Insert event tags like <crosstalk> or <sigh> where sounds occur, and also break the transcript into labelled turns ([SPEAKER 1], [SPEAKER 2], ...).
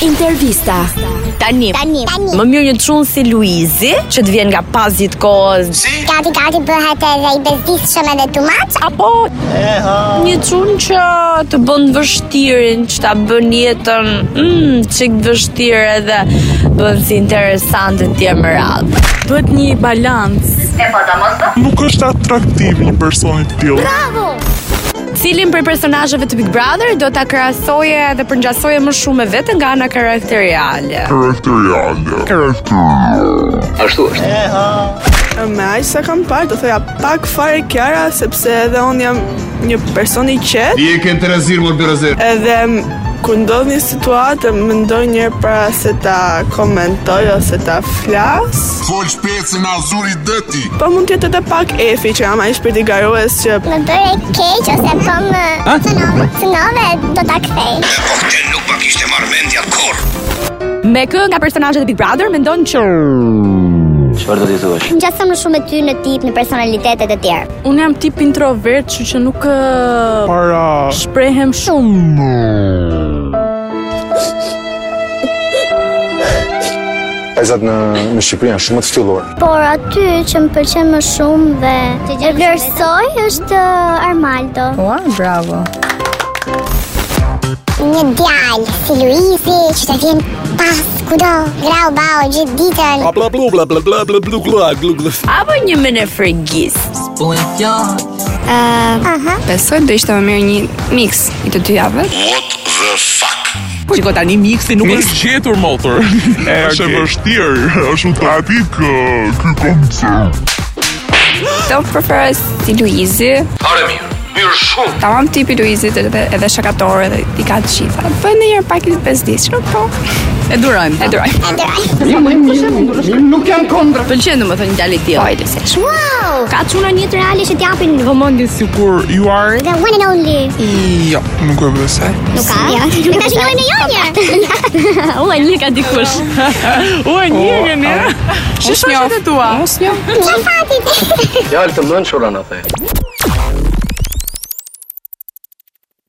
[SPEAKER 1] Intervista.
[SPEAKER 2] Tani,
[SPEAKER 3] Tani, tani,
[SPEAKER 2] më mirë një çun si Luizi, që të vjen nga pas gjithë kohës,
[SPEAKER 3] gati gati bëhet edhe i bezdisshëm edhe tumaç.
[SPEAKER 2] apo një çun që të bën vështirin, që ta bën jetën mm, çik të vështirë edhe bën si interesante të më radhë.
[SPEAKER 4] Duhet një balans.
[SPEAKER 5] Nuk është atraktiv një personi të tillë.
[SPEAKER 2] Cilin prej personazheve të Big Brother do ta krahasoje dhe përngjasoje më shumë me veten nga ana karakteriale?
[SPEAKER 5] Karakteriale.
[SPEAKER 4] Me aq sa kam parë, do thoja pak fare Kiara sepse edhe un jam një person i qetë
[SPEAKER 6] Diye que entre zirmo bir
[SPEAKER 4] edhe m- kur ndodh një situatë mendoj një herë para se ta komentoj ose ta flas.
[SPEAKER 6] Fol shpecën a zuri dëti.
[SPEAKER 4] Po mund të jetë edhe pak efi që jam aq shpirtigarues që
[SPEAKER 3] Më bëre keq ose po më cënove, cënove do ta kthej.
[SPEAKER 6] Nuk pa kishte marrë mendja kur.
[SPEAKER 2] Me kë nga personazhet e Big Brother mendon që
[SPEAKER 7] Çfarë do t'i thuash?
[SPEAKER 3] Ngjason më shumë me ty në tip, në personalitetet e tjerë.
[SPEAKER 4] un jam tip introvert, kështu që nuk ë,
[SPEAKER 5] Para
[SPEAKER 4] shprehem shumë.
[SPEAKER 8] Pajzat në, në Shqipëri janë shumë të ftylluar.
[SPEAKER 3] Por aty që më pëlqen më shumë Po. dhe e vlerësoj është uh, Armaldo.
[SPEAKER 2] Ua, bravo.
[SPEAKER 3] Një djalë si Luizi që të vjen pas kudo, grau bau gjithë ditën.
[SPEAKER 6] Bla bla bla bla bla bla bla bla bla bla.
[SPEAKER 2] Apo një më në frigis.
[SPEAKER 4] Besoj do ishte më mirë një mix i të dyjave.
[SPEAKER 6] What the fuck?
[SPEAKER 9] Shiko tani miksi nuk
[SPEAKER 5] Nuk është gjetur motor. Është e vështirë, <laughs> është utratik ky koncert.
[SPEAKER 4] Do preferoj si Luizi.
[SPEAKER 6] Are mirë. Mirë shumë.
[SPEAKER 4] Tamam tipi Luizit edhe edhe shakator edhe i ka të gjitha. Po ndonjëherë pak i bezdisshëm, po.
[SPEAKER 2] E durojmë.
[SPEAKER 4] E duroj.
[SPEAKER 8] Nuk janë kontra.
[SPEAKER 2] Pëlqen domethënë djalë i tillë. Po, se shumë.
[SPEAKER 3] Wow!
[SPEAKER 2] Ka çuna një të reale që t'japin vëmendjen si
[SPEAKER 5] Kur ju are?
[SPEAKER 3] The one and only.
[SPEAKER 5] Jo, nuk e besoj.
[SPEAKER 3] Nuk ka. Ne tash njohim në <laughs> jonjë.
[SPEAKER 2] u e një ka dikush.
[SPEAKER 4] Ç'është njoh?
[SPEAKER 8] Fjalë të mençura na the.